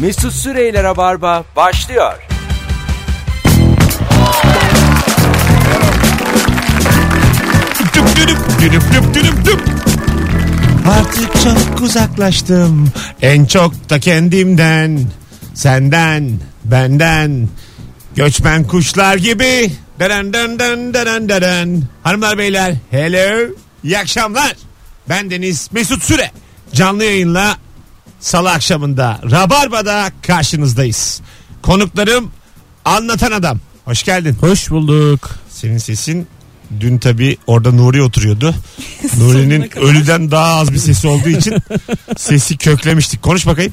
Mesut Süreyler'e barba başlıyor. Düp düdüp, düdüp düp düdüp düp. Artık çok uzaklaştım en çok da kendimden senden benden göçmen kuşlar gibi deren deren deren deren deren. Hanımlar beyler hello iyi akşamlar ben Deniz Mesut Süre canlı yayınla salı akşamında Rabarba'da karşınızdayız konuklarım anlatan adam hoş geldin Hoş bulduk. Senin sesin dün tabi orada Nuri oturuyordu. Nuri'nin ölüden daha az bir sesi olduğu için sesi köklemiştik. Konuş bakayım.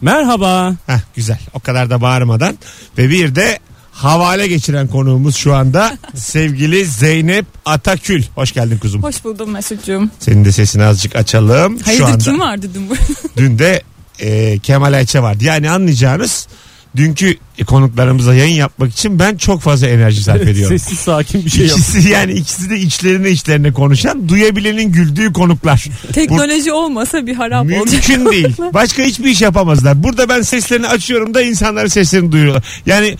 Merhaba. Heh, güzel o kadar da bağırmadan. Ve bir de havale geçiren konuğumuz şu anda sevgili Zeynep Atakül. Hoş geldin kuzum. Hoş buldum Mesut'cum. Senin de sesini azıcık açalım. şu Hayırdır anda. kim vardı dün bu? Dün de e, Kemal Ayça vardı. Yani anlayacağınız dünkü e, konuklarımıza yayın yapmak için ben çok fazla enerji sarf ediyorum. Sessiz sakin bir şey yap. İkisi yani ikisi de içlerine içlerine konuşan duyabilenin güldüğü konuklar. Teknoloji olmasa bir harap olacak. Mümkün değil. Başka hiçbir iş yapamazlar. Burada ben seslerini açıyorum da insanların seslerini duyuyorlar. Yani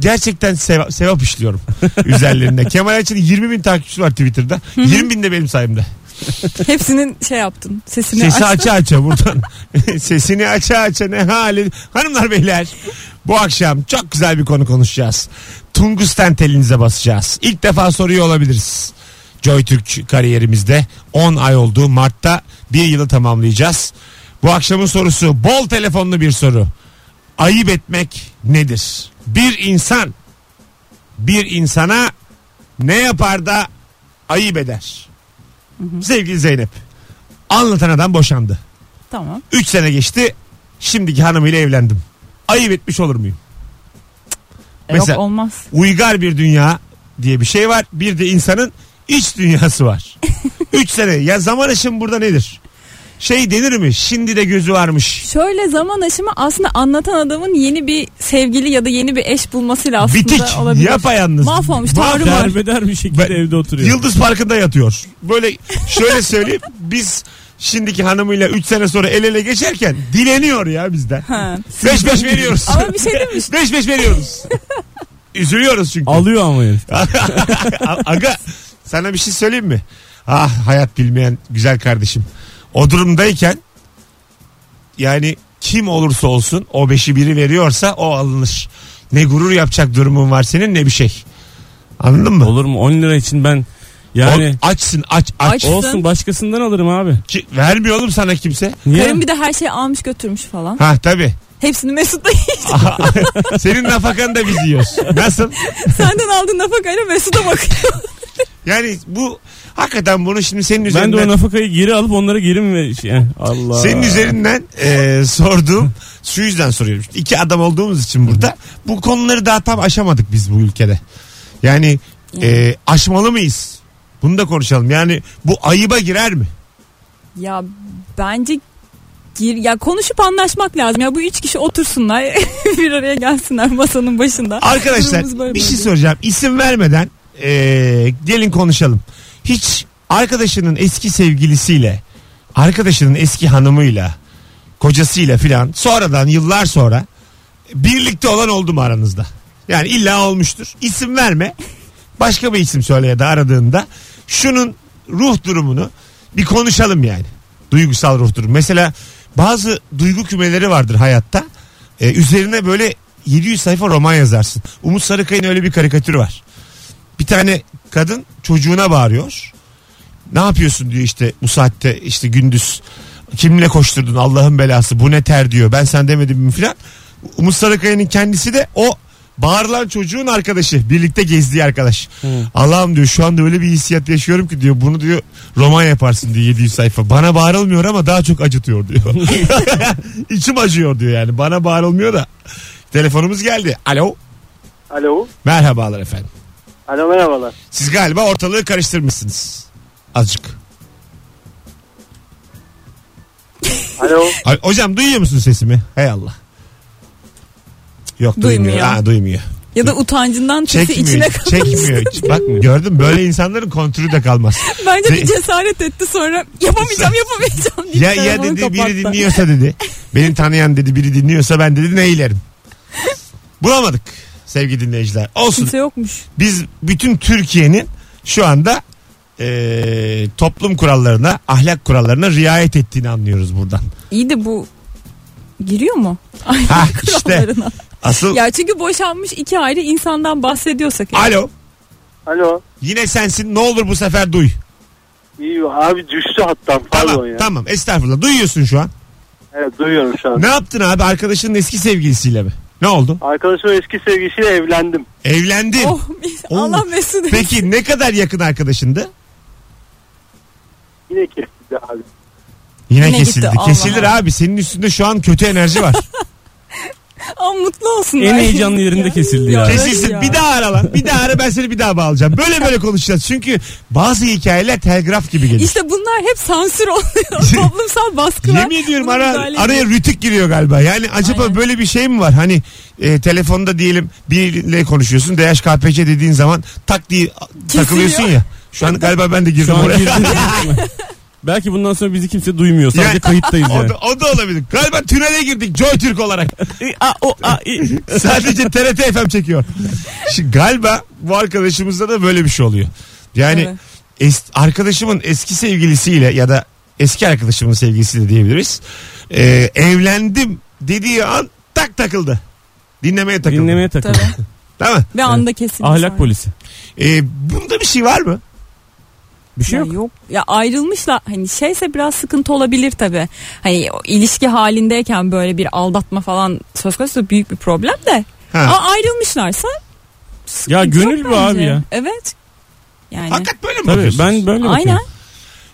gerçekten seva- sevap işliyorum üzerlerinde. Kemal Ayça'nın 20 bin takipçisi var Twitter'da. 20 bin de benim sayemde. Hepsinin şey yaptın. Sesini Sesi açtın. aça aça buradan. Sesini aça aça ne hali. Hanımlar beyler bu akşam çok güzel bir konu konuşacağız. Tungusten telinize basacağız. İlk defa soruyor olabiliriz. JoyTürk kariyerimizde 10 ay oldu. Mart'ta bir yılı tamamlayacağız. Bu akşamın sorusu bol telefonlu bir soru. Ayıp etmek nedir? Bir insan bir insana ne yapar da ayıp eder? Sevgili Zeynep anlatan adam boşandı. Tamam. 3 sene geçti. Şimdiki hanımıyla evlendim. Ayıp etmiş olur muyum? Mesela- Yok olmaz. Uygar bir dünya diye bir şey var. Bir de insanın iç dünyası var. 3 sene. Ya zaman aşımı burada nedir? Şey denir mi? Şimdi de gözü varmış. Şöyle zaman aşımı aslında anlatan adamın yeni bir sevgili ya da yeni bir eş bulmasıyla aslında Bitik. olabilir. Yapayalnız. Mahvolmuş, Mahvolmuş. tavrı var. Derbeder bir şekilde Ben- evde oturuyor. Yıldız Parkı'nda yatıyor. Böyle şöyle söyleyeyim. Biz şimdiki hanımıyla 3 sene sonra el ele geçerken dileniyor ya bizden. Ha. 5 5 veriyoruz. Ama bir şey demiş. 5 5 veriyoruz. Üzülüyoruz çünkü. Alıyor ama herif. A- Aga sana bir şey söyleyeyim mi? Ah hayat bilmeyen güzel kardeşim. O durumdayken yani kim olursa olsun o beşi biri veriyorsa o alınır. Ne gurur yapacak durumun var senin ne bir şey. Anladın mı? Olur mu? 10 lira için ben Yani... yani açsın aç aç. Aç. O- olsun başkasından alırım abi. Ki- vermiyor oğlum sana kimse. Niye? Karım bir de her şeyi almış götürmüş falan. Ha tabi. Hepsini Mesut'la Senin nafakanı da biz yiyoruz. Nasıl? senden aldığın nafakayla Mesut'a bakıyor. Yani bu hakikaten bunu şimdi senin ben de üzerinden o nafakayı geri alıp onlara geri mi vereceğim? Allah. Senin üzerinden e, sorduğum şu yüzden soruyorum. Şimdi iki adam olduğumuz için burada bu konuları daha tam aşamadık biz bu ülkede. Yani e, aşmalı mıyız? Bunu da konuşalım. Yani bu ayıba girer mi? Ya bence gir ya konuşup anlaşmak lazım. Ya bu üç kişi otursunlar bir araya gelsinler masanın başında. Durumumuz Arkadaşlar böyle bir şey böyle. soracağım. İsim vermeden e, gelin konuşalım. Hiç arkadaşının eski sevgilisiyle, arkadaşının eski hanımıyla, kocasıyla filan sonradan yıllar sonra birlikte olan oldu mu aranızda? Yani illa olmuştur. İsim verme. Başka bir isim söyle ya da aradığında şunun ruh durumunu bir konuşalım yani. Duygusal ruh durumu. Mesela bazı duygu kümeleri vardır hayatta. Ee, üzerine böyle 700 sayfa roman yazarsın. Umut Sarıkaya'nın öyle bir karikatürü var. Bir tane kadın çocuğuna bağırıyor. Ne yapıyorsun diyor işte bu saatte işte gündüz. Kimle koşturdun Allah'ın belası bu ne ter diyor. Ben sen demedim mi filan. Umut Sarıkaya'nın kendisi de o bağırılan çocuğun arkadaşı. Birlikte gezdiği arkadaş. Allah'ım diyor şu anda öyle bir hissiyat yaşıyorum ki diyor bunu diyor roman yaparsın diyor 700 sayfa. Bana bağırılmıyor ama daha çok acıtıyor diyor. İçim acıyor diyor yani bana bağırılmıyor da. Telefonumuz geldi. Alo. Alo. Merhabalar efendim. Alo merhabalar. Siz galiba ortalığı karıştırmışsınız. Azıcık. Alo. Ay, hocam duyuyor musun sesimi? Hey Allah. Yok duymuyor. Duymuyor. Ha, duymuyor. Ya da utancından sesi Çekmiyor. içine hiç, kalmış. çekmiyor. hiç. Bak gördüm böyle insanların kontrolü de kalmaz. Bence bir cesaret etti sonra yapamayacağım yapamayacağım diye ya ya dedi telefonu biri kapattı. dinliyorsa dedi. Beni tanıyan dedi biri dinliyorsa ben dedi ne ilerim. Bulamadık sevgili dinleyiciler. Olsun Kimse yokmuş. biz bütün Türkiye'nin şu anda e, toplum kurallarına, ahlak kurallarına riayet ettiğini anlıyoruz buradan. İyi de bu giriyor mu? Ay, Ha, işte. kurallarına. Asıl Ya çünkü boşanmış iki ayrı insandan bahsediyorsak. yani. alo Alo. yine sensin ne olur bu sefer duy. İyi abi düştü hattan pardon Tamam ya. tamam estağfurullah duyuyorsun şu an. Evet duyuyorum şu an. Ne yaptın abi arkadaşının eski sevgilisiyle mi? Ne oldu? Arkadaşımın eski sevgilisiyle evlendim. Evlendin. Oh, Oo. Allah mesut. etsin. Peki ne kadar yakın arkadaşındı? Yine kesildi abi. Yine, Yine gitti, kesildi. Allah Kesilir Allah. abi senin üstünde şu an kötü enerji var. Ama mutlu olsun. En heyecanlı yerinde kesildi ya. Kesilsin bir daha ara lan. Bir daha ara ben seni bir daha bağlayacağım. Böyle böyle konuşacağız. Çünkü bazı hikayeler telgraf gibi geliyor. İşte bunlar hep sansür oluyor. Toplumsal baskılar. Yemin ediyorum Buna ara, müdahale araya ediyor. rütük giriyor galiba. Yani acaba Aynen. böyle bir şey mi var? Hani e, telefonda diyelim biriyle konuşuyorsun. DHKPC dediğin zaman tak diye takılıyorsun ya. Şu an galiba ben de girdim Şu an oraya. girdim. Belki bundan sonra bizi kimse duymuyor. Sadece Yani- kayıttayız o, yani. da, o da olabilir. Galiba tünele girdik Joy Türk olarak. A, o, a, i. Sadece TRT FM çekiyor. Şimdi galiba bu arkadaşımızda da böyle bir şey oluyor. Yani Evet. es- arkadaşımın eski sevgilisiyle ya da eski arkadaşımın sevgilisiyle diyebiliriz. Ee, evlendim dediği an tak takıldı. Dinlemeye takıldı. Dinlemeye takıldı. Tabii. Değil mi? Ve anda kesildi. Ahlak sonra. polisi. Ee, bunda bir şey var mı? Bir şey Ya yok. yok. Ya ayrılmışlar hani şeyse biraz sıkıntı olabilir tabi. Hani o ilişki halindeyken böyle bir aldatma falan söz konusu büyük bir problem de. Ha. Aa, ayrılmışlarsa sıkıntı Ya gönül yok bu bence. abi ya. Evet. Yani. Hakikat böyle mi Tabii bakıyorsunuz? ben böyle Aynen. bakıyorum.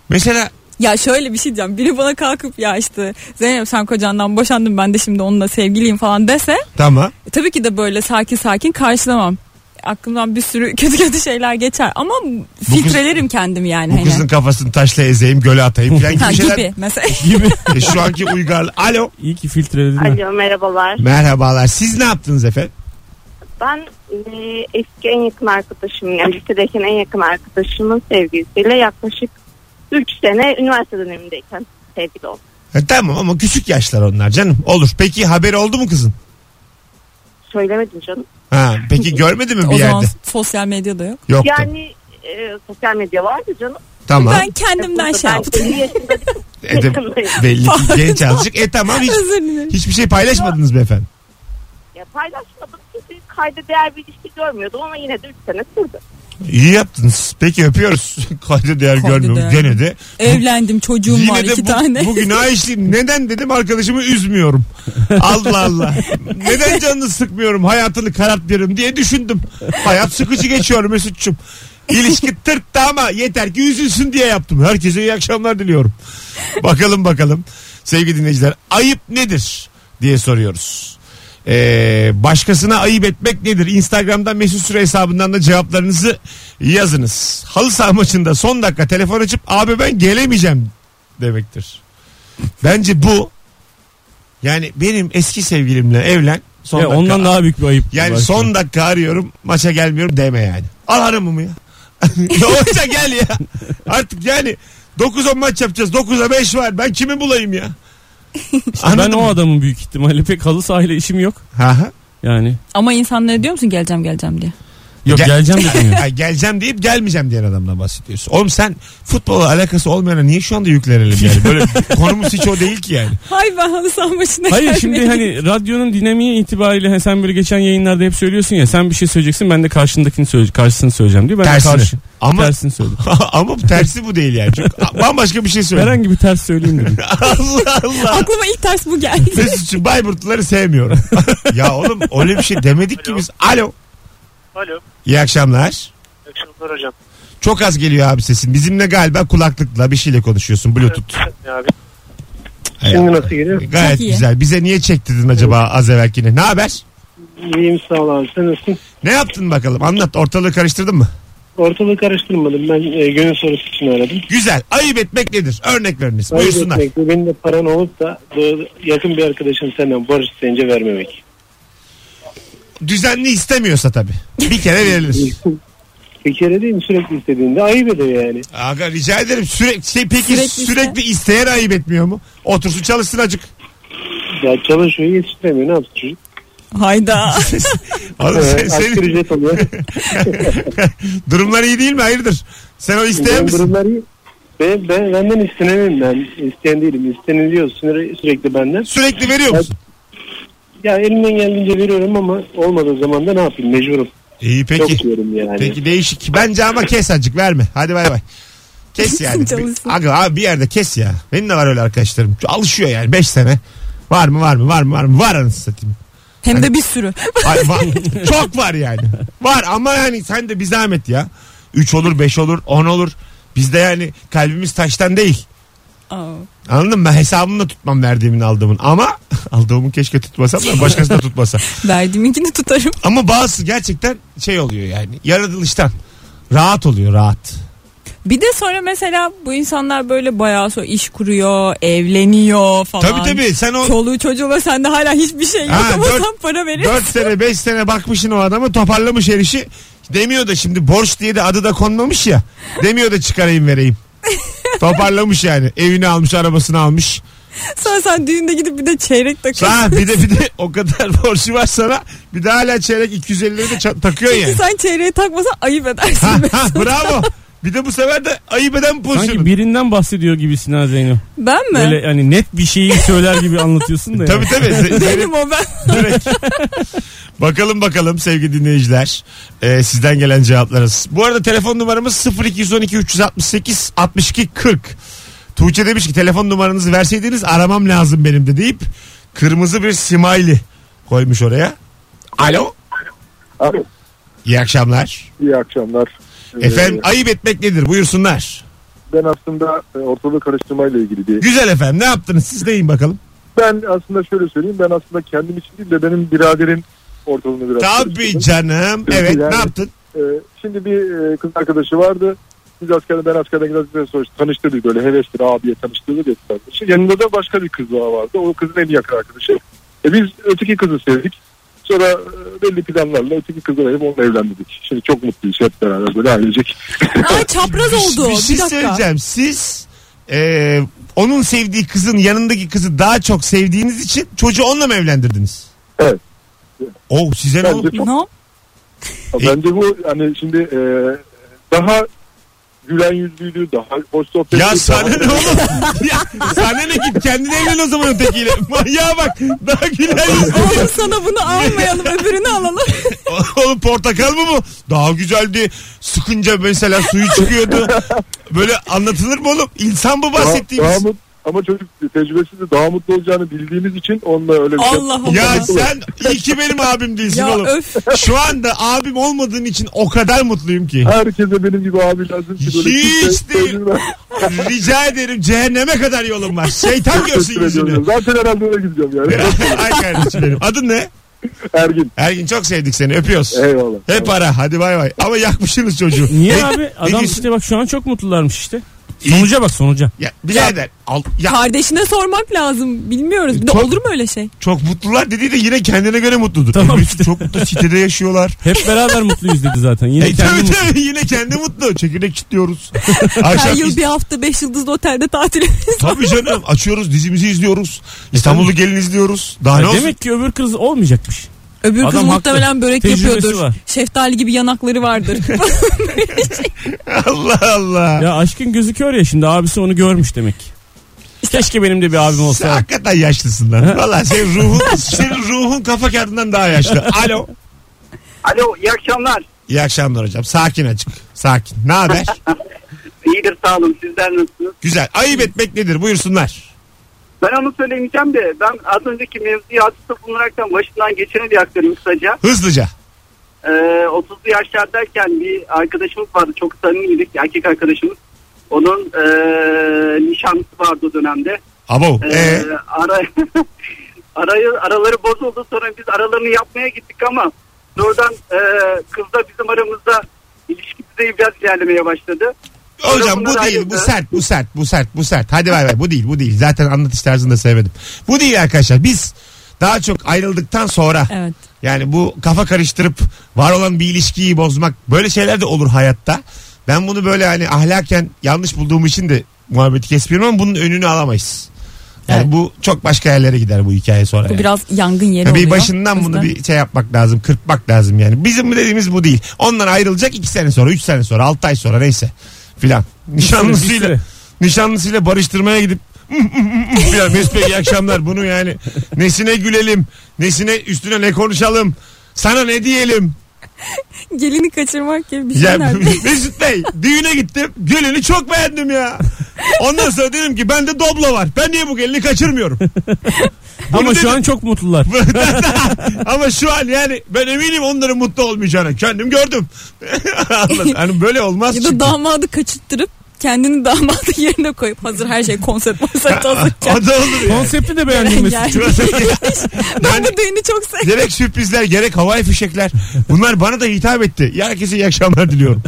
Mesela Ya şöyle bir şey diyeceğim. Biri bana kalkıp ya işte Zeynep sen kocandan boşandın ben de şimdi onunla sevgiliyim falan dese tamam. E, Tabii ki de böyle sakin sakin karşılamam. Aklımdan bir sürü kötü kötü şeyler geçer ama filtrelerim kendim yani. Bu hani. kızın kafasını taşla ezeyim göle atayım falan gibi ha, şeyler. gibi mesela. Gibi. E, şu anki uygarlı. Alo. İyi ki filtreledin. ha. Alo merhabalar. Merhabalar. Siz ne yaptınız efendim? Ben e, eski en yakın arkadaşım yani lisedeki en yakın arkadaşımın sevgilisiyle yaklaşık 3 sene üniversite dönemindeyken sevgili oldum. E, tamam ama küçük yaşlar onlar canım. Olur. Peki haberi oldu mu kızın? Söylemedim canım. Ha, peki görmedi mi bir o yerde? zaman sosyal medyada yok. Yoktu. Yani e, sosyal medya vardı canım. tamam. Ben kendimden Burada şey ben yaptım. 50 yaşında bir kız E, de- yakındayım. belli ki genç azıcık. E tamam hiç, Özür dilerim. hiçbir şey paylaşmadınız mı efendim? Ya paylaşmadım çünkü kayda değer bir ilişki görmüyordum ama yine de 3 sene sürdü. İyi yaptınız. Peki öpüyoruz. Kayda değer Kayda görmüyorum. değer. Gene de. Evlendim çocuğum Yine var de iki bu, tane. bu günah işleyeyim. Neden dedim arkadaşımı üzmüyorum. Allah Allah. Neden canını sıkmıyorum hayatını karartmıyorum diye düşündüm. Hayat sıkıcı geçiyor Mesut'cum. İlişki tırttı ama yeter ki üzülsün diye yaptım. Herkese iyi akşamlar diliyorum. Bakalım bakalım sevgili dinleyiciler ayıp nedir diye soruyoruz. Ee, başkasına ayıp etmek nedir? Instagram'dan Mesut Süre hesabından da cevaplarınızı yazınız. Halı saha maçında son dakika telefon açıp abi ben gelemeyeceğim demektir. Bence bu yani benim eski sevgilimle evlen son Ya dakika. ondan daha büyük bir ayıp. yani Başka. son dakika arıyorum maça gelmiyorum deme yani. Al hanımımı ya. ne olursa gel ya. Artık yani 9-10 maç yapacağız. 9'a 5 var. Ben kimi bulayım ya? ben o adamın büyük ihtimalle pek halı sahayla işim yok. Aha. Yani. Ama insanlara diyor musun geleceğim geleceğim diye. Yok Gel- geleceğim de demiyor. Ya geleceğim deyip gelmeyeceğim diyen adamdan bahsediyorsun. Oğlum sen futbola alakası olmayana niye şu anda yüklenelim yani? Böyle konumuz hiç o değil ki yani. Hay ben halı saha maçına Hayır gelmedim. şimdi hani radyonun dinamiği itibariyle he, sen böyle geçen yayınlarda hep söylüyorsun ya sen bir şey söyleyeceksin ben de karşındakini söyle karşısını söyleyeceğim diye. Ben de Tersini. karşı, Ama tersini söyledim. ama tersi bu değil yani. Çok bambaşka bir şey söylüyorum. Herhangi bir ters söyleyeyim dedim. Allah Allah. Aklıma ilk ters bu geldi. Mesut'cum Bayburtluları sevmiyorum. ya oğlum öyle bir şey demedik ki Alo. biz. Alo. Alo. İyi akşamlar. İyi akşamlar hocam. Çok az geliyor abi sesin. Bizimle galiba kulaklıkla bir şeyle konuşuyorsun. Bluetooth. Abi. Hay Şimdi Allah. nasıl geliyor? Gayet Çok iyi. güzel. Bize niye çektirdin acaba az evvelkini? Ne haber? İyiyim sağ ol abi sen nasılsın? Ne yaptın bakalım? Anlat. Ortalığı karıştırdın mı? Ortalığı karıştırmadım ben e, gönül sorusu için aradım. Güzel. Ayıp etmek nedir? Örnek veriniz. Ayıp Buyursunlar. etmek ve Benim de paran olup da doğru- yakın bir arkadaşın senden borç isteyince vermemek. Düzenli istemiyorsa tabii. Bir kere verilir. bir kere değil mi sürekli istediğinde ayıp ediyor yani. Aga rica ederim. Sürekli şey, peki Sürekli sürekli, iste- isteyen ayıp etmiyor mu? Otursun çalışsın acık. Ya çalışıyor yetiştiremiyor ne yapsın çocuk? Hayda. Oğlum sen- Ee, asgari senin ücret alıyor. durumlar iyi değil mi? Hayırdır? Sen o isteyen Benim misin? durumlar iyi. Ben, ben, benden istenemem ben. İsteyen değilim. İsteniliyor süre- sürekli benden. Sürekli veriyor musun? Ya elimden geldiğince veriyorum ama olmadığı zaman da ne yapayım mecburum. İyi peki. Çok diyorum yani. Peki değişik. Bence ama kes azıcık verme. Hadi bay bay. Kes yani. Çalışsın. Bir- Aga abi bir yerde kes ya. Benim de var öyle arkadaşlarım. Alışıyor yani 5 sene. Var mı var mı var mı var mı? Var anasını satayım. Hem Hani- de bir sürü. Ay, va- çok var yani. Var ama yani sen de bir zahmet ya. 3 olur 5 olur 10 olur. Bizde yani kalbimiz taştan değil. Aa. Anladın mı? Ben hesabını da tutmam verdiğimin aldığımın. Ama aldığımın keşke tutmasam da başkası da tutmasa. Verdiğiminkini tutarım. Ama bazısı gerçekten şey oluyor yani. Yaratılıştan. Rahat oluyor rahat. Bir de sonra mesela bu insanlar böyle bayağı sonra iş kuruyor, evleniyor falan. Tabii tabii sen o Çoluğu çocuğuna sende hala hiçbir şey yok Ha, ama dört- sen para verir. 4 sene 5 sene bakmışsın o adamı toparlamış her işi. Demiyor da şimdi borç diye de adı da konmamış ya. Demiyor da çıkarayım vereyim. toparlamış yani. Evini almış arabasını almış. Sonra sen düğünde gidip bir de çeyrek takıyorsun. Ha bir de bir de o kadar borcu var sana. Bir de hala çeyrek 250 lira da ça- takıyorsun Çünkü yani. sen çeyreği takmasan ayıp edersin. Ha, ha, bravo. Bir de bu sefer de ayıp eden pozisyonu. Sanki birinden bahsediyor gibisin ha Zeyno. ben mi? Böyle hani net bir şeyi söyler gibi anlatıyorsun da. ya. Tabii tabii. Ze- Zeynep- Benim o ben. Direkt. bakalım bakalım sevgili dinleyiciler. Ee, sizden gelen cevaplarınız. Bu arada telefon numaramız 0212 368 62 40. Tuğçe demiş ki telefon numaranızı verseydiniz aramam lazım benim de deyip kırmızı bir smiley koymuş oraya. Alo. Alo. İyi akşamlar. İyi akşamlar. Ee, Efendim ayıp etmek nedir? Buyursunlar. Ben aslında e, ortalığı karıştırmayla ilgili diye. Güzel efendim ne yaptınız? Siz deyin bakalım. Ben aslında şöyle söyleyeyim. Ben aslında kendim için değil de benim biraderin ortalığını biraz Tabii karıştırdım. canım. Evet ne yaptın? Ee, şimdi bir e, kız arkadaşı vardı. Biz askerden ben askerden giderken sonra işte tanıştırdık böyle hevesli abiye tanıştırdık etkilendi. Şimdi yanında da başka bir kız daha vardı. O kızın en yakın arkadaşı. E, biz öteki kızı sevdik. Sonra e, belli planlarla öteki kızı verip onunla evlendik. Şimdi çok mutluyuz hep beraber böyle ailecek. Ay çapraz oldu. Bir, Bir, şey dakika. söyleyeceğim. Siz e, onun sevdiği kızın yanındaki kızı daha çok sevdiğiniz için çocuğu onunla mı evlendirdiniz? Evet. O size ne Bence oldu? çok No. Ya Bence bu hani şimdi e, daha gülen yüzlüydü, daha hoş sohbet. Ya sana ne oğlum? ya sana ne git kendine evlen o zaman ötekiyle. Manyağa bak. Daha güler yüzlü. Oğlum sana bunu almayalım öbürünü alalım. Oğlum portakal mı bu? Daha güzeldi. Sıkınca mesela suyu çıkıyordu. Böyle anlatılır mı oğlum? İnsan bu Daha, bahsettiğimiz. mut- ama çocuk tecrübesizdi, daha mutlu olacağını bildiğimiz için onunla öyle bir şey- Allah Allah. Ya sen iyi ki benim abim değilsin ya oğlum. öf. Şu anda abim olmadığın için o kadar mutluyum ki. Herkese benim gibi abi lazım ki böyle Hiç kimse- değil. Rica ederim cehenneme kadar yolum var. Şeytan görsün Teşekkür ediyorum. yüzünü. Zaten herhalde öyle gideceğim yani. Ay kardeşim benim. Adın ne? Ergin. Ergin çok sevdik seni öpüyoruz. Eyvallah. Hep ara hadi bay bay. Ama yakmışsınız çocuğu. Niye Ne- abi? Adam diyorsun? işte bak şu an çok mutlularmış işte. Sonuca bak sonuca. Ya, birader al, ya, Kardeşine sormak lazım. Bilmiyoruz. Bir de Çok- olur mu öyle şey? çok mutlular dediği de yine kendine göre mutludur. Tamam Öbürü işte. Çok mutlu sitede yaşıyorlar. Hep beraber mutluyuz dedi zaten. Yine E, kendi tabii mutlu. tabii yine kendi mutlu. Çekirdek çitliyoruz. Her Akşam yıl is- bir hafta beş yıldızlı otelde tatil. Tabii canım açıyoruz dizimizi izliyoruz. İstanbul'u gelin izliyoruz. Daha ne Ya olsun? Demek ki öbür kız olmayacakmış. Öbür kız Adam haklı. muhtemelen börek Tecrübesi yapıyordur. var. Şeftali gibi yanakları vardır. Allah Allah. Ya aşkın gözü kör ya şimdi abisi onu görmüş demek. Keşke benim de bir abim Sen olsa. hakikaten yaşlısın lan. Valla senin ruhun, senin ruhun kafa kağıdından daha yaşlı. Alo. Alo iyi akşamlar. İyi akşamlar hocam. Sakin açık. Sakin. Ne haber? İyidir sağ olun sizler nasılsınız? Güzel. Ayıp etmek nedir? Buyursunlar. Ben onu söylemeyeceğim de ben az önceki mevzuyu atıfta bulunaraktan başından geçeni diye aktarayım kısaca. Hızlıca. Ee, 30'lu yaşlardayken bir arkadaşımız vardı çok samimiydik erkek arkadaşımız. Onun ee, nişanlısı vardı o dönemde. Abo. Ee, Ee, ara, arayı, araları bozuldu sonra biz aralarını yapmaya gittik ama sonradan ee, kızla bizim aramızda ilişkimizde biraz ilerlemeye başladı. hocam bu bunlar değil. ayrıldı. Bu sert. Bu sert. Bu sert. Bu sert. Hadi bay bay. Bu değil. Bu değil. Zaten anlatış tarzını da sevmedim. Bu değil arkadaşlar. Biz daha çok ayrıldıktan sonra evet. yani bu kafa karıştırıp var olan bir ilişkiyi bozmak böyle şeyler de olur hayatta. Ben bunu böyle hani ahlaken yanlış bulduğum için de muhabbeti kesmiyorum ama bunun önünü alamayız. Yani Evet. bu çok başka yerlere gider bu hikaye sonra. Bu yani. biraz yangın E, yeri Ya oluyor. bir başından O bunu yüzden. bir şey yapmak lazım. Kırpmak lazım yani. Bizim dediğimiz bu değil. Ondan ayrılacak 2 sene sonra, 3 sene sonra, 6 ay sonra neyse. Filan. Bir Nişanlısıyla süre. nişanlısıyla barıştırmaya gidip "Mm, filan Mesut Bey iyi akşamlar bunu yani. Nesine gülelim? Nesine üstüne ne konuşalım? Sana ne diyelim? Gelini kaçırmak gibi bir şey Ya nerede? Mesut Bey düğüne gittim. Gelini çok beğendim ya. Ondan sonra dedim ki bende doblo var. Ben niye bu gelini kaçırmıyorum? Ama dedim. şu an çok mutlular. Ama şu an yani ben eminim onların mutlu olmayacağını. Kendim gördüm. Anladın? Hani böyle olmaz. Ya çünkü. da damadı kaçırttırıp kendini damadın yerine koyup hazır her şey konsept konsept hazırken. O da olur yani. Konsepti de beğendim Mesut. Yani ben Yani bu düğünü çok sevdim. gerek sürprizler gerek havai fişekler. Bunlar bana da hitap etti. Ya Herkese iyi akşamlar diliyorum.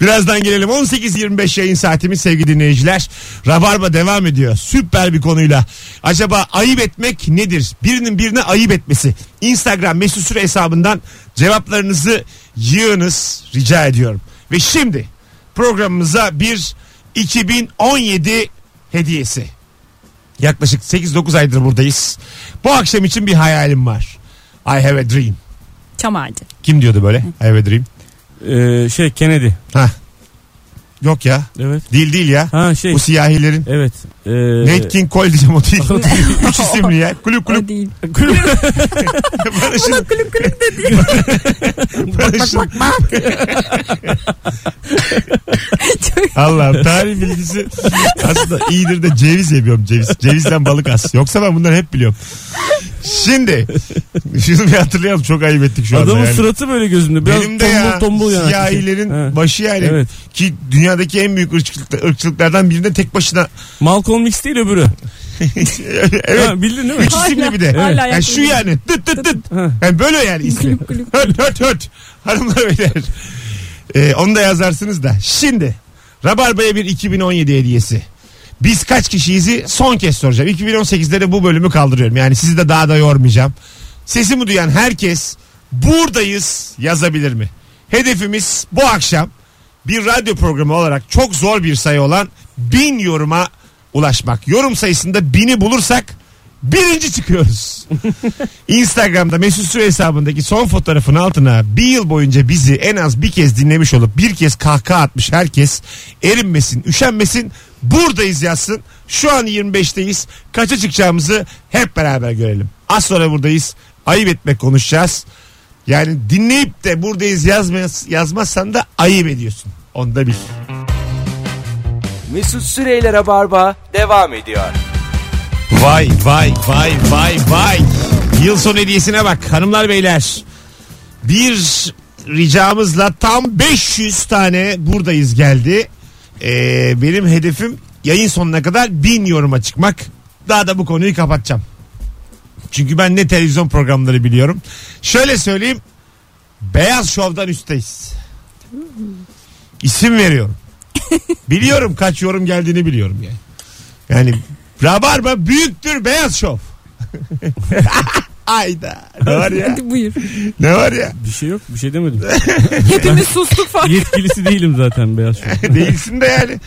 Birazdan gelelim. 18.25 yayın saatimiz sevgili dinleyiciler. Rabarba devam ediyor. Süper bir konuyla. Acaba ayıp etmek nedir? Birinin birine ayıp etmesi. Instagram mesut süre hesabından cevaplarınızı yığınız rica ediyorum. Ve şimdi programımıza bir 2017 hediyesi. Yaklaşık 8-9 aydır buradayız. Bu akşam için bir hayalim var. I have a dream. Çam ağacı. Kim diyordu böyle? I have a dream. Ee, şey Kennedy. Ha. Yok ya. Evet. Değil değil ya. Ha şey. Bu siyahilerin. Evet. Ee, Nate King Cole diyeceğim o değil. Üç isimli ya. Kulüp kulüp. O değil. Bana şimdi- Kulüp kulüp dedi. bana şimdi- Çok Allah'ım tarih bilgisi aslında iyidir de ceviz yemiyorum ceviz. Cevizden balık az. Yoksa ben bunları hep biliyorum. Şimdi şunu bir hatırlayalım çok ayıp ettik şu anda. Adamın yani. suratı böyle gözümde. Biraz Benim de tombul ya tombul yani. siyahilerin Ha. başı yani. Evet. Ki dünyadaki en büyük ırkçılık- ırkçılıklardan birinde tek başına. Malcolm X değil öbürü. evet. Ha, bildin değil mi? Üç isimli Hala- bir de. hala yani şu yakın. yani. Tıt tıt tıt. Ha. Yani böyle yani ismi. Kulüp kulüp. höt höt höt. Hanımlar beyler. Ee, onu da yazarsınız da. Şimdi Rabarba'ya bir 2017 hediyesi. Biz kaç kişiyizi son kez soracağım. 2018'de de bu bölümü kaldırıyorum. Yani sizi de daha da yormayacağım. Sesimi duyan herkes buradayız yazabilir mi? Hedefimiz bu akşam bir radyo programı olarak çok zor bir sayı olan bin yoruma ulaşmak. Yorum sayısında bini bulursak birinci çıkıyoruz. Instagram'da Mesut Süre hesabındaki son fotoğrafın altına bir yıl boyunca bizi en az bir kez dinlemiş olup bir kez kahkaha atmış herkes erinmesin, üşenmesin buradayız yazsın. Şu an 25'teyiz. Kaça çıkacağımızı hep beraber görelim. Az sonra buradayız. Ayıp etmek konuşacağız. Yani dinleyip de buradayız yazmaz, yazmazsan da ayıp ediyorsun. Onu da bil. Mesut Süreyler'e barba devam ediyor. Vay vay vay vay vay. Yıl sonu hediyesine bak hanımlar beyler. Bir ricamızla tam 500 tane buradayız geldi. Ee, benim hedefim yayın sonuna kadar 1000 yoruma çıkmak. Daha da bu konuyu kapatacağım. Çünkü ben ne televizyon programları biliyorum. Şöyle söyleyeyim. Beyaz Şov'dan üstteyiz. İsim veriyorum. biliyorum kaç yorum geldiğini biliyorum yani. Yani Rabarba büyüktür beyaz şov. Ayda. Ne var ya? Hadi buyur. Ne var ya? Bir şey yok bir şey demedim. Hepimiz sustuk fark. Yetkilisi değilim zaten Beyaz Şov. Değilsin de yani.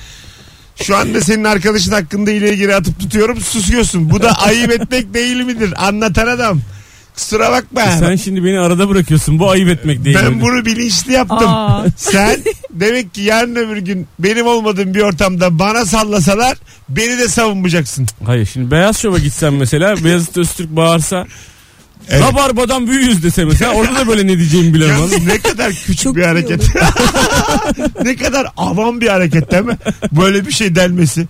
Şu anda senin arkadaşın hakkında ileri geri atıp tutuyorum susuyorsun. Bu da ayıp etmek değil midir? Anlatan adam. Kusura bakma. Sen şimdi beni arada bırakıyorsun. Bu ayıp etmek değil. ben bunu bilinçli yaptım. Aa. Sen demek ki yarın öbür gün benim olmadığım bir ortamda bana sallasalar beni de savunmayacaksın. Hayır şimdi Beyaz Şov'a gitsen mesela Beyazıt Öztürk bağırsa Evet. Rabarbadan büyüyüz dese mesela orada da böyle ne diyeceğimi bilemem. Yalnız ne kadar küçük Çok bir iyi hareket. ne kadar avam bir hareket değil mi? Böyle bir şey denmesi.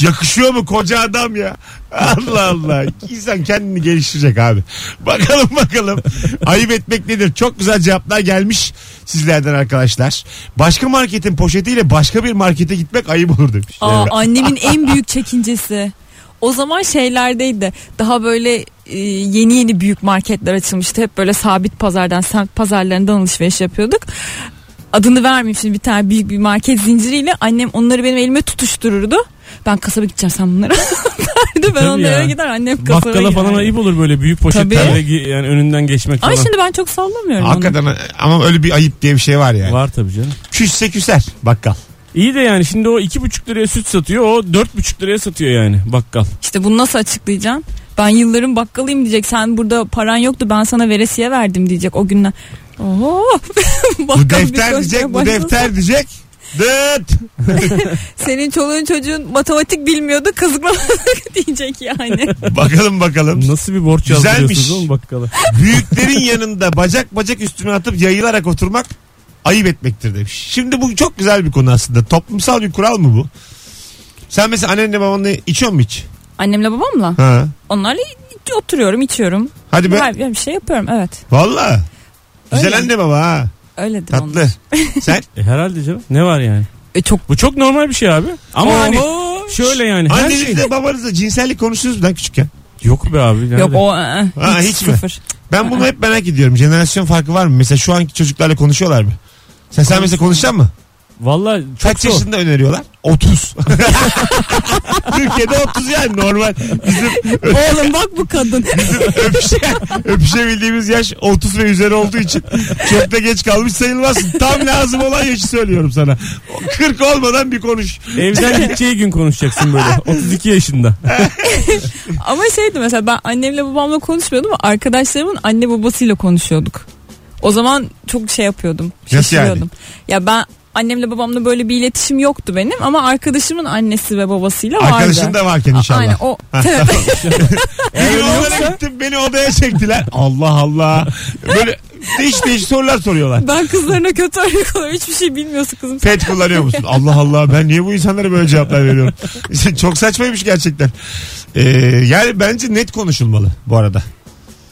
Yakışıyor mu koca adam ya? Allah Allah. İnsan kendini geliştirecek abi. Bakalım bakalım. Ayıp etmek nedir? Çok güzel cevaplar gelmiş sizlerden arkadaşlar. Başka marketin poşetiyle başka bir markete gitmek ayıp olur demiş. Aa, annemin en büyük çekincesi. O zaman şeylerdeydi. Daha böyle e, yeni yeni büyük marketler açılmıştı. Hep böyle sabit pazardan, semt pazarlarından alışveriş yapıyorduk. Adını vermeyeyim şimdi bir tane büyük bir market zinciriyle annem onları benim elime tutuştururdu. Ben kasaba gideceğim sen bunları. derdi. ben Tabii onlara ya. gider annem kasaba Bakkala falan ayıp olur böyle büyük poşetlerle Tabii. gi- yani önünden geçmek falan. Ay şimdi ben çok sallamıyorum onu. Hakikaten ama öyle bir ayıp diye bir şey var yani. Var tabii canım. Küsse küser bakkal. İyi de yani şimdi o iki buçuk liraya süt satıyor o dört buçuk liraya satıyor yani bakkal. İşte bunu nasıl açıklayacaksın? Ben yılların bakkalıyım diyecek. Sen burada paran yoktu ben sana veresiye verdim diyecek o günden. Oo. Bakkal Bu bir defter konuşmaya diyecek, bu başlasın. defter diyecek. Dıt. Senin çoluğun çocuğun matematik bilmiyordu kızgınlık diyecek yani. Bakalım bakalım. Nasıl bir borç Güzelmiş. yazdırıyorsunuz oğlum bakkala? Büyüklerin yanında bacak bacak üstüne atıp yayılarak oturmak ayıp etmektir demiş. Şimdi bu çok güzel bir konu aslında. Toplumsal bir kural mı bu? Sen mesela annenle babanla içiyor mu hiç? Annemle babamla Ha. onlarla oturuyorum içiyorum. Hadi be. Her, bir şey yapıyorum evet. Valla. Güzel Öyle. anne baba ha. Öyledir onlar. Tatlı. Sen E, herhalde canım ne var yani? E, çok Bu çok normal bir şey abi. Ama Oho. hani şöyle yani her şey. annenizle babanızla cinsellik konuştunuz mu lan küçükken? Yok be abi. nerede? Yok o ı, ı, Ha, hiç, hiç mi? sıfır. Ben bunu hep merak ediyorum. Jenerasyon farkı var mı? Mesela şu anki çocuklarla konuşuyorlar mı? Sen, sen mesela konuşacaksın mı? Vallahi çok Kaç zor. yaşında öneriyorlar? 30. Türkiye'de 30 yani normal. Bizim Oğlum bak bu kadın. öpüşe, öpüşebildiğimiz yaş 30 ve üzeri olduğu için çok da geç kalmış sayılmazsın. Tam lazım olan yaşı söylüyorum sana. 40 olmadan bir konuş. Evden gideceği gün konuşacaksın böyle. 32 yaşında. Hani- Ama şeydi mesela ben annemle babamla konuşmuyordum ama arkadaşlarımın anne babasıyla konuşuyorduk. O zaman çok şey yapıyordum. Nasıl şaşırıyordum. Ya ben annemle babamla böyle bir iletişim yoktu benim ama arkadaşımın annesi ve babasıyla vardı. Arkadaşın da varken A- inşallah. Aynen o. Bir yollara gittim beni odaya çektiler. Allah Allah. Böyle değiş değiş sorular soruyorlar. ben kızlarına kötü örnek oluyorum. Hiçbir şey bilmiyorsun kızım. Pet kullanıyor musun? Allah Allah ben niye bu insanlara böyle cevaplar veriyorum? Çok saçmaymış gerçekten. Ee, yani bence net konuşulmalı bu arada.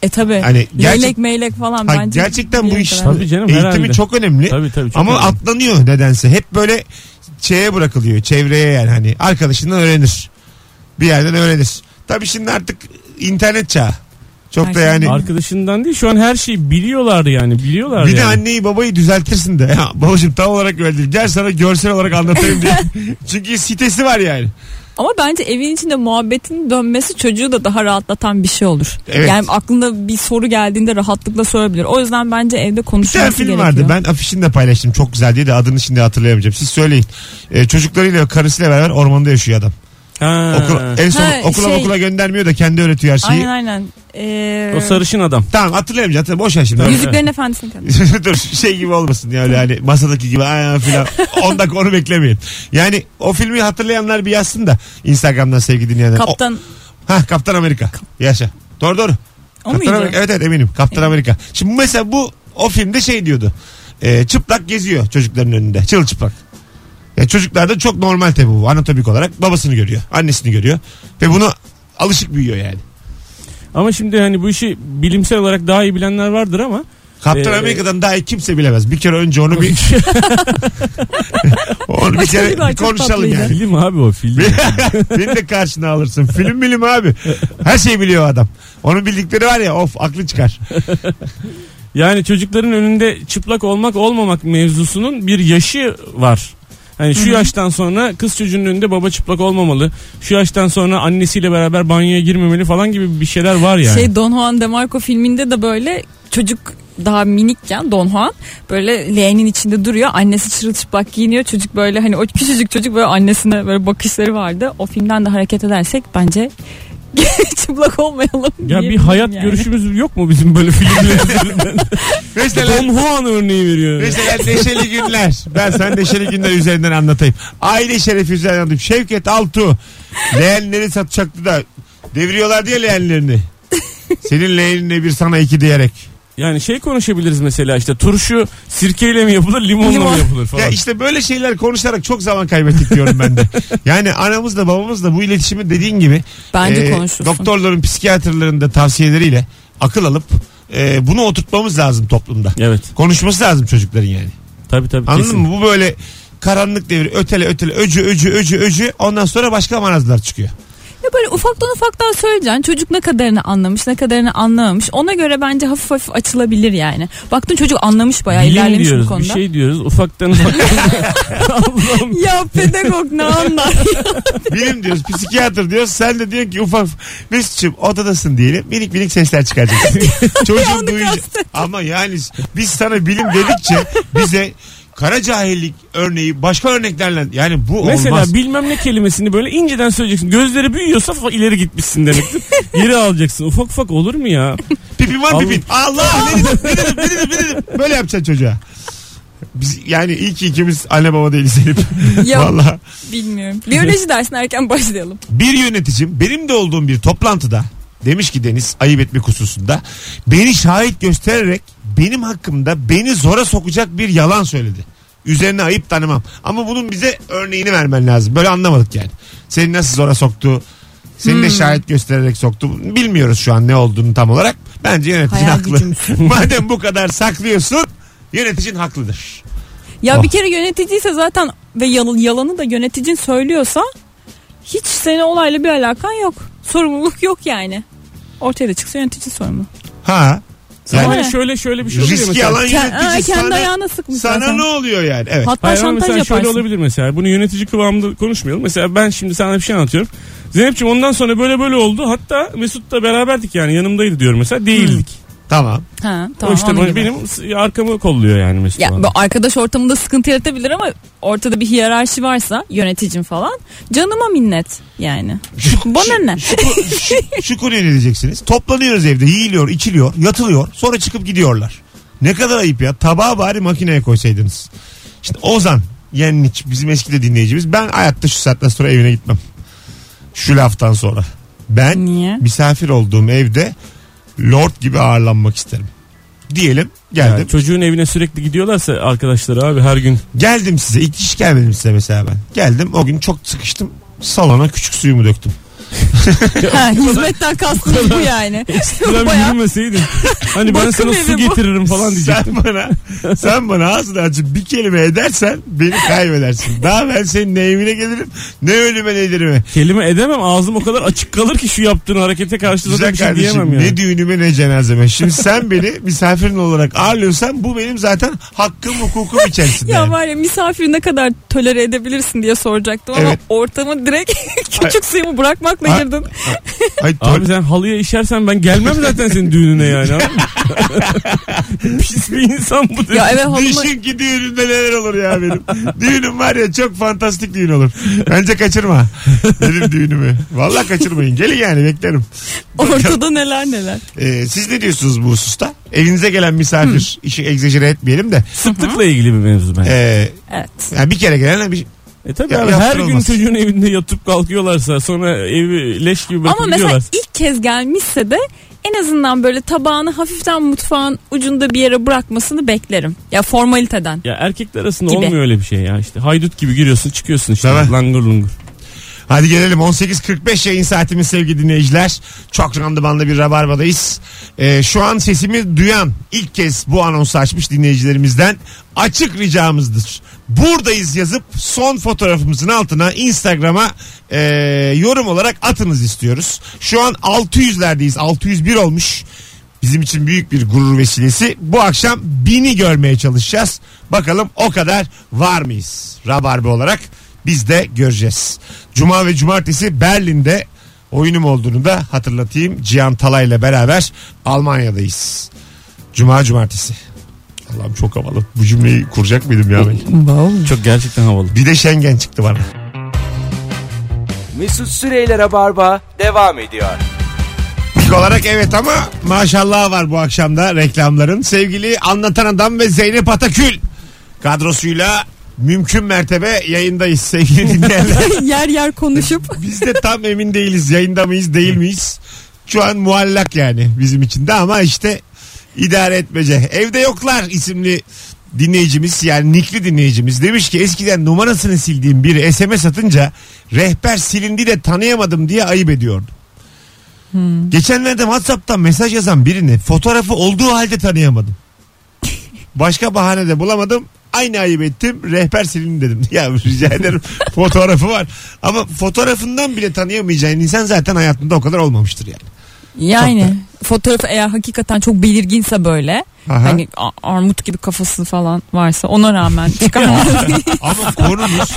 E tabi. Hani gerçek- Meylek meylek falan Ha, bence. gerçekten bu bir iş yere kadar. Tabii canım, eğitimi herhalde. çok önemli. Tabii tabii. çok Ama önemli. atlanıyor nedense. Hep böyle şeye bırakılıyor. Çevreye yani hani arkadaşından öğrenir. Bir yerden öğrenir. Tabii şimdi artık internet çağı. Çok da Her şey yani Arkadaşından değil şu an her şeyi biliyorlar yani biliyorlar bir de yani. anneyi babayı düzeltirsin de. Ya, babacığım tam olarak öyle Gel sana görsel olarak anlatayım diye. Çünkü sitesi var yani. Ama bence evin içinde muhabbetin dönmesi çocuğu da daha rahatlatan bir şey olur. Evet. Yani aklında bir soru geldiğinde rahatlıkla sorabilir. O yüzden bence Bir evde tane konuşulması film gerekiyor. vardı. Ben afişini de paylaştım. Çok güzel diye de adını şimdi hatırlayamayacağım. Siz söyleyin. Ee, çocuklarıyla karısıyla beraber ormanda yaşıyor adam. Ha. hani- Okula, en son Ha, okula şey- okula göndermiyor da kendi öğretiyor her şeyi. Aynen aynen. Ee, O sarışın adam. Tamam hatırlayamayacağım. Tamam, Boş ver şimdi. Yüzüklerin Efendisi'nin kadını. Dur şey gibi olmasın ya öyle hani masadaki gibi aa filan. 10 dakika onu beklemeyin. Yani o filmi hatırlayanlar bir yazsın da Instagram'dan sevgili dinleyenler. O- Kaptan Ha Kaptan Amerika. Yaşa. Doğru doğru. o, Kaptan muydu? Amerika. Evet evet eminim. Kaptan Amerika. Şimdi mesela bu o filmde şey diyordu. Ee, çıplak geziyor çocukların önünde. Çılçıplak. Yani çocuklarda çok normal tabi bu. Anatomik olarak babasını görüyor. Annesini görüyor. Ve bunu alışık büyüyor yani. Ama şimdi hani bu işi bilimsel olarak daha iyi bilenler vardır ama Kaptan Ee, Amerika'dan daha iyi kimse bilemez. Bir kere önce onu bir onu bir kere Çocuklar bir çok konuşalım tatlıydı. yani. film abi o film. Beni de karşına alırsın. Film bilim abi. Her şeyi biliyor adam. Onun bildikleri var ya of aklı çıkar. Yani çocukların önünde çıplak olmak olmamak mevzusunun bir yaşı var. Hani şu yaştan sonra kız çocuğunun önünde baba çıplak olmamalı. Şu yaştan sonra annesiyle beraber banyoya girmemeli falan gibi bir şeyler var yani. Şey Don Juan de Marco filminde de böyle çocuk daha minikken Don Juan böyle leğenin içinde duruyor. Annesi çırılçıplak giyiniyor. Çocuk böyle hani o küçücük çocuk böyle annesine böyle bakışları vardı. O filmden de hareket edersek bence çıplak olmayalım. ya bir diyebilirim hayat yani. görüşümüz yok mu bizim böyle filmler üzerinden? Mesela Don Juan örneği veriyor. Mesela Neşeli Günler. Ben sana Neşeli Günler üzerinden anlatayım. Aile şerefi üzerinden anlatayım. Şevket Altu leğenleri satacaktı da deviriyorlar diye leğenlerini. Senin leğenine bir sana iki diyerek. Yani şey konuşabiliriz mesela işte turşu sirkeyle mi yapılır limonla Limon. mı yapılır falan. Ya işte böyle şeyler konuşarak çok zaman kaybettik diyorum ben de. Yani anamızla babamızla bu iletişimi dediğin gibi Bence Ee, e, konuşursun. doktorların, psikiyatrların da tavsiyeleriyle akıl alıp e, bunu oturtmamız lazım toplumda. Evet Konuşması lazım çocukların yani. tabii tabii Anladın kesin. mı? Bu böyle karanlık devir ötele ötele öcü öcü öcü öcü ondan sonra başka marazlar çıkıyor. Ya böyle ufaktan ufaktan söyleyeceksin. Çocuk ne kadarını anlamış ne kadarını anlamamış. Ona göre bence hafif hafif açılabilir yani. Baktın çocuk anlamış bayağı Bilim ilerlemiş bu diyoruz bir konuda. şey diyoruz ufaktan ufaktan. Allah'ım Ya pedagog ne anlar? Bilim diyoruz psikiyatr diyoruz sen de diyorsun ki ufak Mesut'cum odadasın diyelim minik minik sesler çıkaracaksın. Çocuğun duyacak. Ama yani biz sana bilim dedikçe bize kara cahillik örneği başka örneklerle yani bu Mesela olmaz. bilmem ne kelimesini böyle inceden söyleyeceksin. Gözleri büyüyorsa fa- ileri gitmişsin demektir. Geri alacaksın. Ufak ufak olur mu ya? Pipim var Al- pipin. Allah ne dedim ne dedim ne dedim ne dedim. Böyle yapacaksın çocuğa. Biz, yani iyi ki ikimiz anne baba değiliz Elif. Ya- Valla. Bilmiyorum. Biyoloji dersine erken başlayalım. Bir yöneticim benim de olduğum bir toplantıda demiş ki Deniz ayıp etmek hususunda beni şahit göstererek benim hakkımda beni zora sokacak bir yalan söyledi. Üzerine ayıp tanımam. Ama bunun bize örneğini vermen lazım. Böyle anlamadık yani. Seni nasıl zora soktu? Seni Hmm. de şahit göstererek soktu. Bilmiyoruz şu an ne olduğunu tam olarak. Bence yöneticin Hayal haklı. gücümüz. Madem bu kadar saklıyorsun yöneticin haklıdır. Ya Oh. Ah. bir kere yöneticiyse zaten ve yal- yalanı da yöneticin söylüyorsa hiç senin olayla bir alakan yok. Sorumluluk yok yani. Ortaya da çıksa yönetici sorumlu. Ha. Ama Yani Öyle. şöyle şöyle bir şey oluyor riski mesela. alan Ke- ha, yönetici kendi sana, ayağına sıkmış sana zaten. ne oluyor yani? Evet. Hatta Hayır ama şantaj mesela yaparsın. şöyle olabilir mesela. Bunu yönetici kıvamında konuşmayalım. Mesela ben şimdi sana bir şey anlatıyorum. Zeynep'ciğim ondan sonra böyle böyle oldu. Hatta Mesut'la beraberdik yani yanımdaydı diyorum mesela. Değildik. Tamam. Ha, o Hmm. tamam, işte onun bana- gibi. benim s- arkamı kolluyor yani Mesut. Ya bana. bu arkadaş ortamında sıkıntı yaratabilir ama ortada bir hiyerarşi varsa yöneticim falan canıma minnet yani. Bana ne? Şu konuya ne diyeceksiniz? Toplanıyoruz evde yiyiliyor, içiliyor, yatılıyor. Sonra çıkıp gidiyorlar. Ne kadar ayıp ya. Tabağı bari makineye koysaydınız. Şimdi Ozan Yenniç bizim eski de dinleyicimiz. Ben hayatta şu saatten sonra evine gitmem. Şu laftan sonra. Ben Niye? misafir olduğum evde lord gibi ağırlanmak isterim. Diyelim Yani geldim. çocuğun evine sürekli gidiyorlarsa arkadaşları abi her gün. Geldim size. İlk hiç gelmedim size mesela ben. Geldim o gün çok sıkıştım. Salona küçük suyumu döktüm. Ha, hizmetten kastınız bu yani. Ulan Bayağı- yürümeseydin. Hani ben Bakım sana su evi bu. getiririm falan diyecek. Sen bana, sen bana ağzını açıp bir kelime edersen beni kaybedersin. Daha ben senin ne evine gelirim ne ölüme ne dirime. Kelime edemem ağzım o kadar açık kalır ki şu yaptığın harekete karşı zaten Güzel bir şey kardeşim diyemem yani. ne düğünüme ne cenazeme. Şimdi sen beni misafirin olarak ağırlıyorsan bu benim zaten hakkım hukukum içerisinde. Ya yani. var ya misafiri ne kadar tolere edebilirsin diye soracaktım ama Evet. ortamı direkt küçük suyumu bırakmakla Ay- girdin. Ay, tol- Abi sen halıya işersen ben gelmem zaten senin düğününe yani. anladın mı? Pis bir insan bu. dedi. Ya eve halıma Düşün ki düğünümde neler olur ya benim. Düğünüm var ya çok fantastik düğün olur. Bence kaçırma benim düğünümü. Vallahi kaçırmayın. Gelin yani beklerim. ortada neler neler. Ee, siz ne diyorsunuz bu hususta? Evinize gelen misafir işi egzajere etmeyelim de. Sıklıkla ilgili bir mevzu bence. Ee, Evet. yani bir kere gelen bir E tabii Ya abi, her gün yaptırılmaz. çocuğun evinde yatıp kalkıyorlarsa sonra evi leş gibi bırakıp Ama mesela gidiyorlarsa. ilk kez gelmişse de en azından böyle tabağını hafiften mutfağın ucunda bir yere bırakmasını beklerim. Ya formaliteden. Ya erkekler arasında Gibi. olmuyor öyle bir şey ya işte. Haydut gibi giriyorsun çıkıyorsun işte Değil mi? langur lungur. Hadi gelelim 18.45 yayın saatimiz sevgili dinleyiciler. Çok randımanlı bir rabarbadayız. Ee, şu an sesimi duyan ilk kez bu anonsu açmış dinleyicilerimizden açık ricamızdır. Buradayız yazıp son fotoğrafımızın altına Instagram'a e, yorum olarak atınız istiyoruz. Şu an 600'lerdeyiz 601 olmuş. Bizim için büyük bir gurur vesilesi. Bu akşam 1000'i görmeye çalışacağız. Bakalım o kadar var mıyız? Rabarbe olarak biz de göreceğiz. Cuma ve cumartesi Berlin'de oyunum olduğunu da hatırlatayım. Cihan Talay ile beraber Almanya'dayız. Cuma cumartesi. Allah'ım çok havalı. Bu cümleyi kuracak mıydım ya ben? Çok gerçekten havalı. Bir de Schengen çıktı bana. Mesut Süreyler'e barba devam ediyor. İlk olarak evet ama maşallah var bu akşamda reklamların. Sevgili Anlatan Adam ve Zeynep Atakül kadrosuyla mümkün mertebe yayındayız sevgili dinleyenler. yer yer konuşup Biz de tam emin değiliz yayında mıyız değil miyiz. Şu an muallak yani bizim için de ama işte idare etmece. Evde yoklar isimli dinleyicimiz yani nikli dinleyicimiz demiş ki eskiden numarasını sildiğim biri SMS atınca rehber silindi de tanıyamadım diye ayıp ediyordum. Geçenlerde WhatsApp'tan mesaj yazan birini fotoğrafı olduğu halde tanıyamadım. Başka bahane de bulamadım. Aynı ayıp ettim. Rehber silin dedim. Ya rica ederim. Fotoğrafı var. Ama fotoğrafından bile tanıyamayacağın insan zaten hayatında o kadar olmamıştır yani. yani fotoğrafı eğer hakikaten çok belirginse böyle Aha. hani a- armut gibi kafası falan varsa ona rağmen çıkamaz. Ama konumuz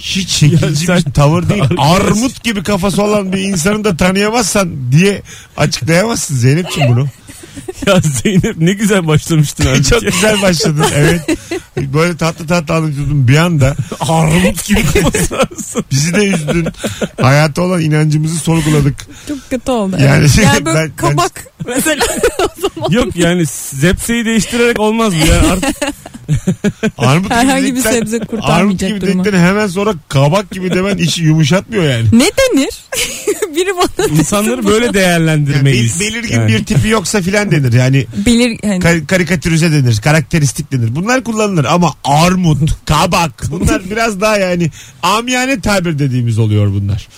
hiç çekici Ya bir sen- tavır değil. Armut gibi kafası olan bir insanı da tanıyamazsan diye açıklayamazsın Zeynep'ciğim bunu. ya Zeynep ne güzel başlamıştın abi. Çok güzel başladın evet. Böyle tatlı tatlı anlatıyordun bir anda. Armut gibi konuşarsın. Bizi de üzdün. Hayata olan inancımızı sorguladık. Çok kötü oldu. Yani- Yani, yani böyle ben- ben- kabak mesela o zaman. Yok yani zepseyi değiştirerek olmaz bu ya. Artık Armut gibi Herhangi bir dedikten- sebze Armut kurtarmayacak gibi durumu. dedikten hemen sonra kabak gibi demen işi yumuşatmıyor yani. Ne denir? Biri bana insanları böyle Yani değerlendirmeyiz. bel- belirgin Yani. bir tipi yoksa filan denir. Yani bilir hani yani kar- karikatürize denir, karakteristik denir. Bunlar kullanılır ama armut, kabak bunlar biraz daha yani amiyane tabir dediğimiz oluyor bunlar.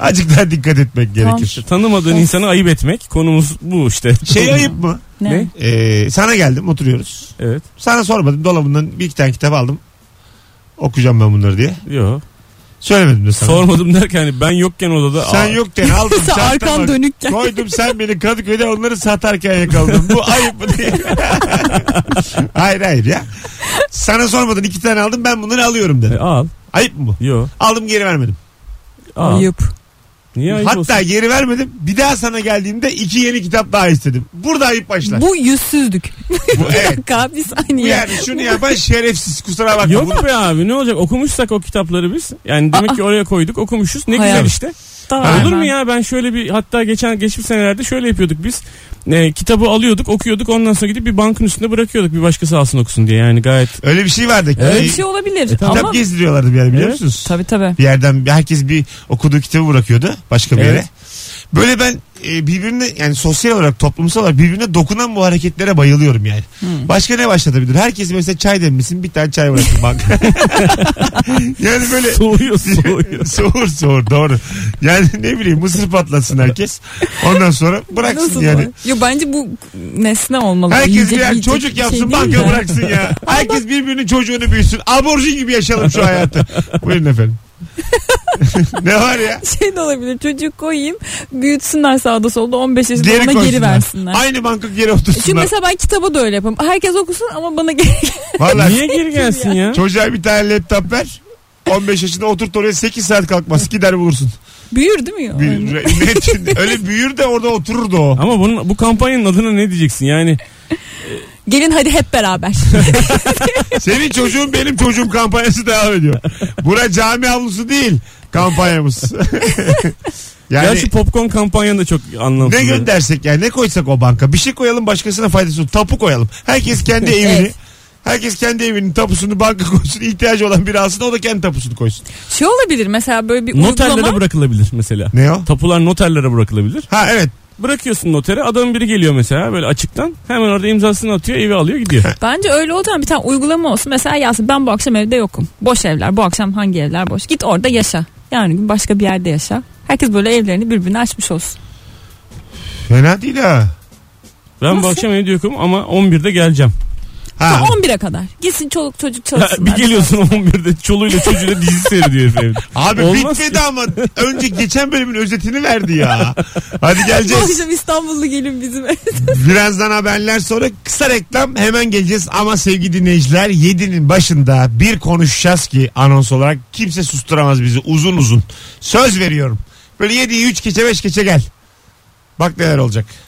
Azıcık daha dikkat etmek Tamam. gerekir. Tanımadığın insanı ayıp etmek konumuz bu işte. Şey ayıp mı? ne? Ne? Ee, sana geldim oturuyoruz. Evet. Sana sormadım dolabından bir iki tane kitap aldım. Okuyacağım ben bunları diye. Yok. Söylemedim de sana. Sormadım derken hani ben yokken odada. Sen aa, yokken aldım. Sen çantama arkan dönükken. Koydum sen beni Kadıköy'de onları satarken yakaladın. Bu ayıp mı diye. hayır hayır ya. Sana sormadın iki tane aldım ben bunları alıyorum E, dedim. al. Ayıp mı bu? Yok. Aldım geri vermedim. Al. Ayıp. Niye ayıp Hatta olsun? geri vermedim. Bir daha sana geldiğimde iki yeni kitap daha istedim. Burada ayıp başlar. Bu yüzsüzlük. Bu- bir evet. dakika bir Bu saniye. yani şunu yapan şerefsiz kusura bakma. Bunu- Yok be abi ne olacak okumuşsak o kitapları biz. Yani demek ki oraya koyduk okumuşuz ne Hayal. güzel işte. Tamamen. Olur mu ya ben şöyle bir hatta geçen geçmiş senelerde şöyle yapıyorduk biz. E, kitabı alıyorduk okuyorduk ondan sonra gidip bir bankın üstünde bırakıyorduk bir başkası alsın okusun diye yani gayet. Öyle bir şey vardı. Öyle Ee, bir şey olabilir kitap ama gezdiriyorlardı bir yer biliyor Evet. musunuz? tabii tabii. Bir yerden herkes bir okuduğu kitabı bırakıyordu başka bir Evet. yere. Böyle ben e, birbirine yani sosyal olarak toplumsal olarak birbirine dokunan bu hareketlere bayılıyorum yani. Hmm. Başka ne başlatabilir? Herkes mesela çay demlisin bir tane çay bırakın bak. yani böyle Soğuyor soğuyor. soğur soğur doğru. Yani ne bileyim mısır patlatsın herkes. Ondan sonra bıraksın Nasıl yani. var? Yo bence bu nesne olmalı. Herkes Yiyecek, birer yiyecek çocuk bir şey yapsın değil banka de. bıraksın ya. Herkes birbirinin çocuğunu büyüsün. Aborjin gibi yaşayalım şu hayatı. Buyurun efendim. ne var ya? Şey de olabilir çocuk koyayım büyütsünler sağda solda 15 yaşında Geri bana koysunlar. geri versinler. E Aynı banka geri Çünkü otursunlar. mesela ben kitaba da öyle yapayım. Herkes okusun ama bana geri Vallahi Niye geri gelsin ya? çocuğa bir tane laptop ver. 15 yaşında oturt oraya 8 saat kalkmaz. Gider bulursun. büyür değil mi? Hani ya? Bir- Aynen. net- öyle büyür de orada oturur da o. Ama bunun, bu kampanyanın adına ne diyeceksin yani? Gelin hadi hep beraber. Senin çocuğun benim çocuğum kampanyası devam ediyor. Bura cami avlusu değil kampanyamız. yani ya şu popcorn kampanyanı da çok anlamsız. Ne göndersek yani ne koysak o banka. Bir şey koyalım başkasına faydası olur. Tapu koyalım. Herkes kendi evini. Evet. Herkes kendi evinin tapusunu banka koysun. İhtiyacı olan biri alsın o da kendi tapusunu koysun. şey olabilir mesela böyle bir Noterlere uygulama. bırakılabilir mesela. Ne o? Tapular noterlere bırakılabilir. Ha evet. Bırakıyorsun notere adamın biri geliyor mesela böyle açıktan hemen orada imzasını atıyor evi alıyor gidiyor. Bence öyle olacağım bir tane uygulama olsun. Mesela yazsın ben bu akşam evde yokum. Boş evler bu akşam hangi evler boş. Git orada yaşa. Yarın gün başka bir yerde yaşa. Herkes böyle evlerini birbirine açmış olsun. Fena değil ha. Ben bu Nasıl? akşam evde yokum ama 11'de geleceğim. Ha. Ta 11'e kadar. Gitsin çoluk çocuk Ya çalışsınlar. bir geliyorsun 11'de çoluğuyla çocuğuyla dizi seyrediyor efendim. Abi Olmaz bitmedi ki. ama önce geçen bölümün özetini verdi ya. Hadi Bu geleceğiz. akşam İstanbullu gelin bizim eve. Birazdan haberler sonra kısa reklam hemen geleceğiz. Ama sevgili dinleyiciler 7'nin başında bir konuşacağız ki anons olarak kimse susturamaz bizi uzun uzun. Söz veriyorum. Böyle 7'yi 3 keçe 5 keçe gel. Bak neler olacak.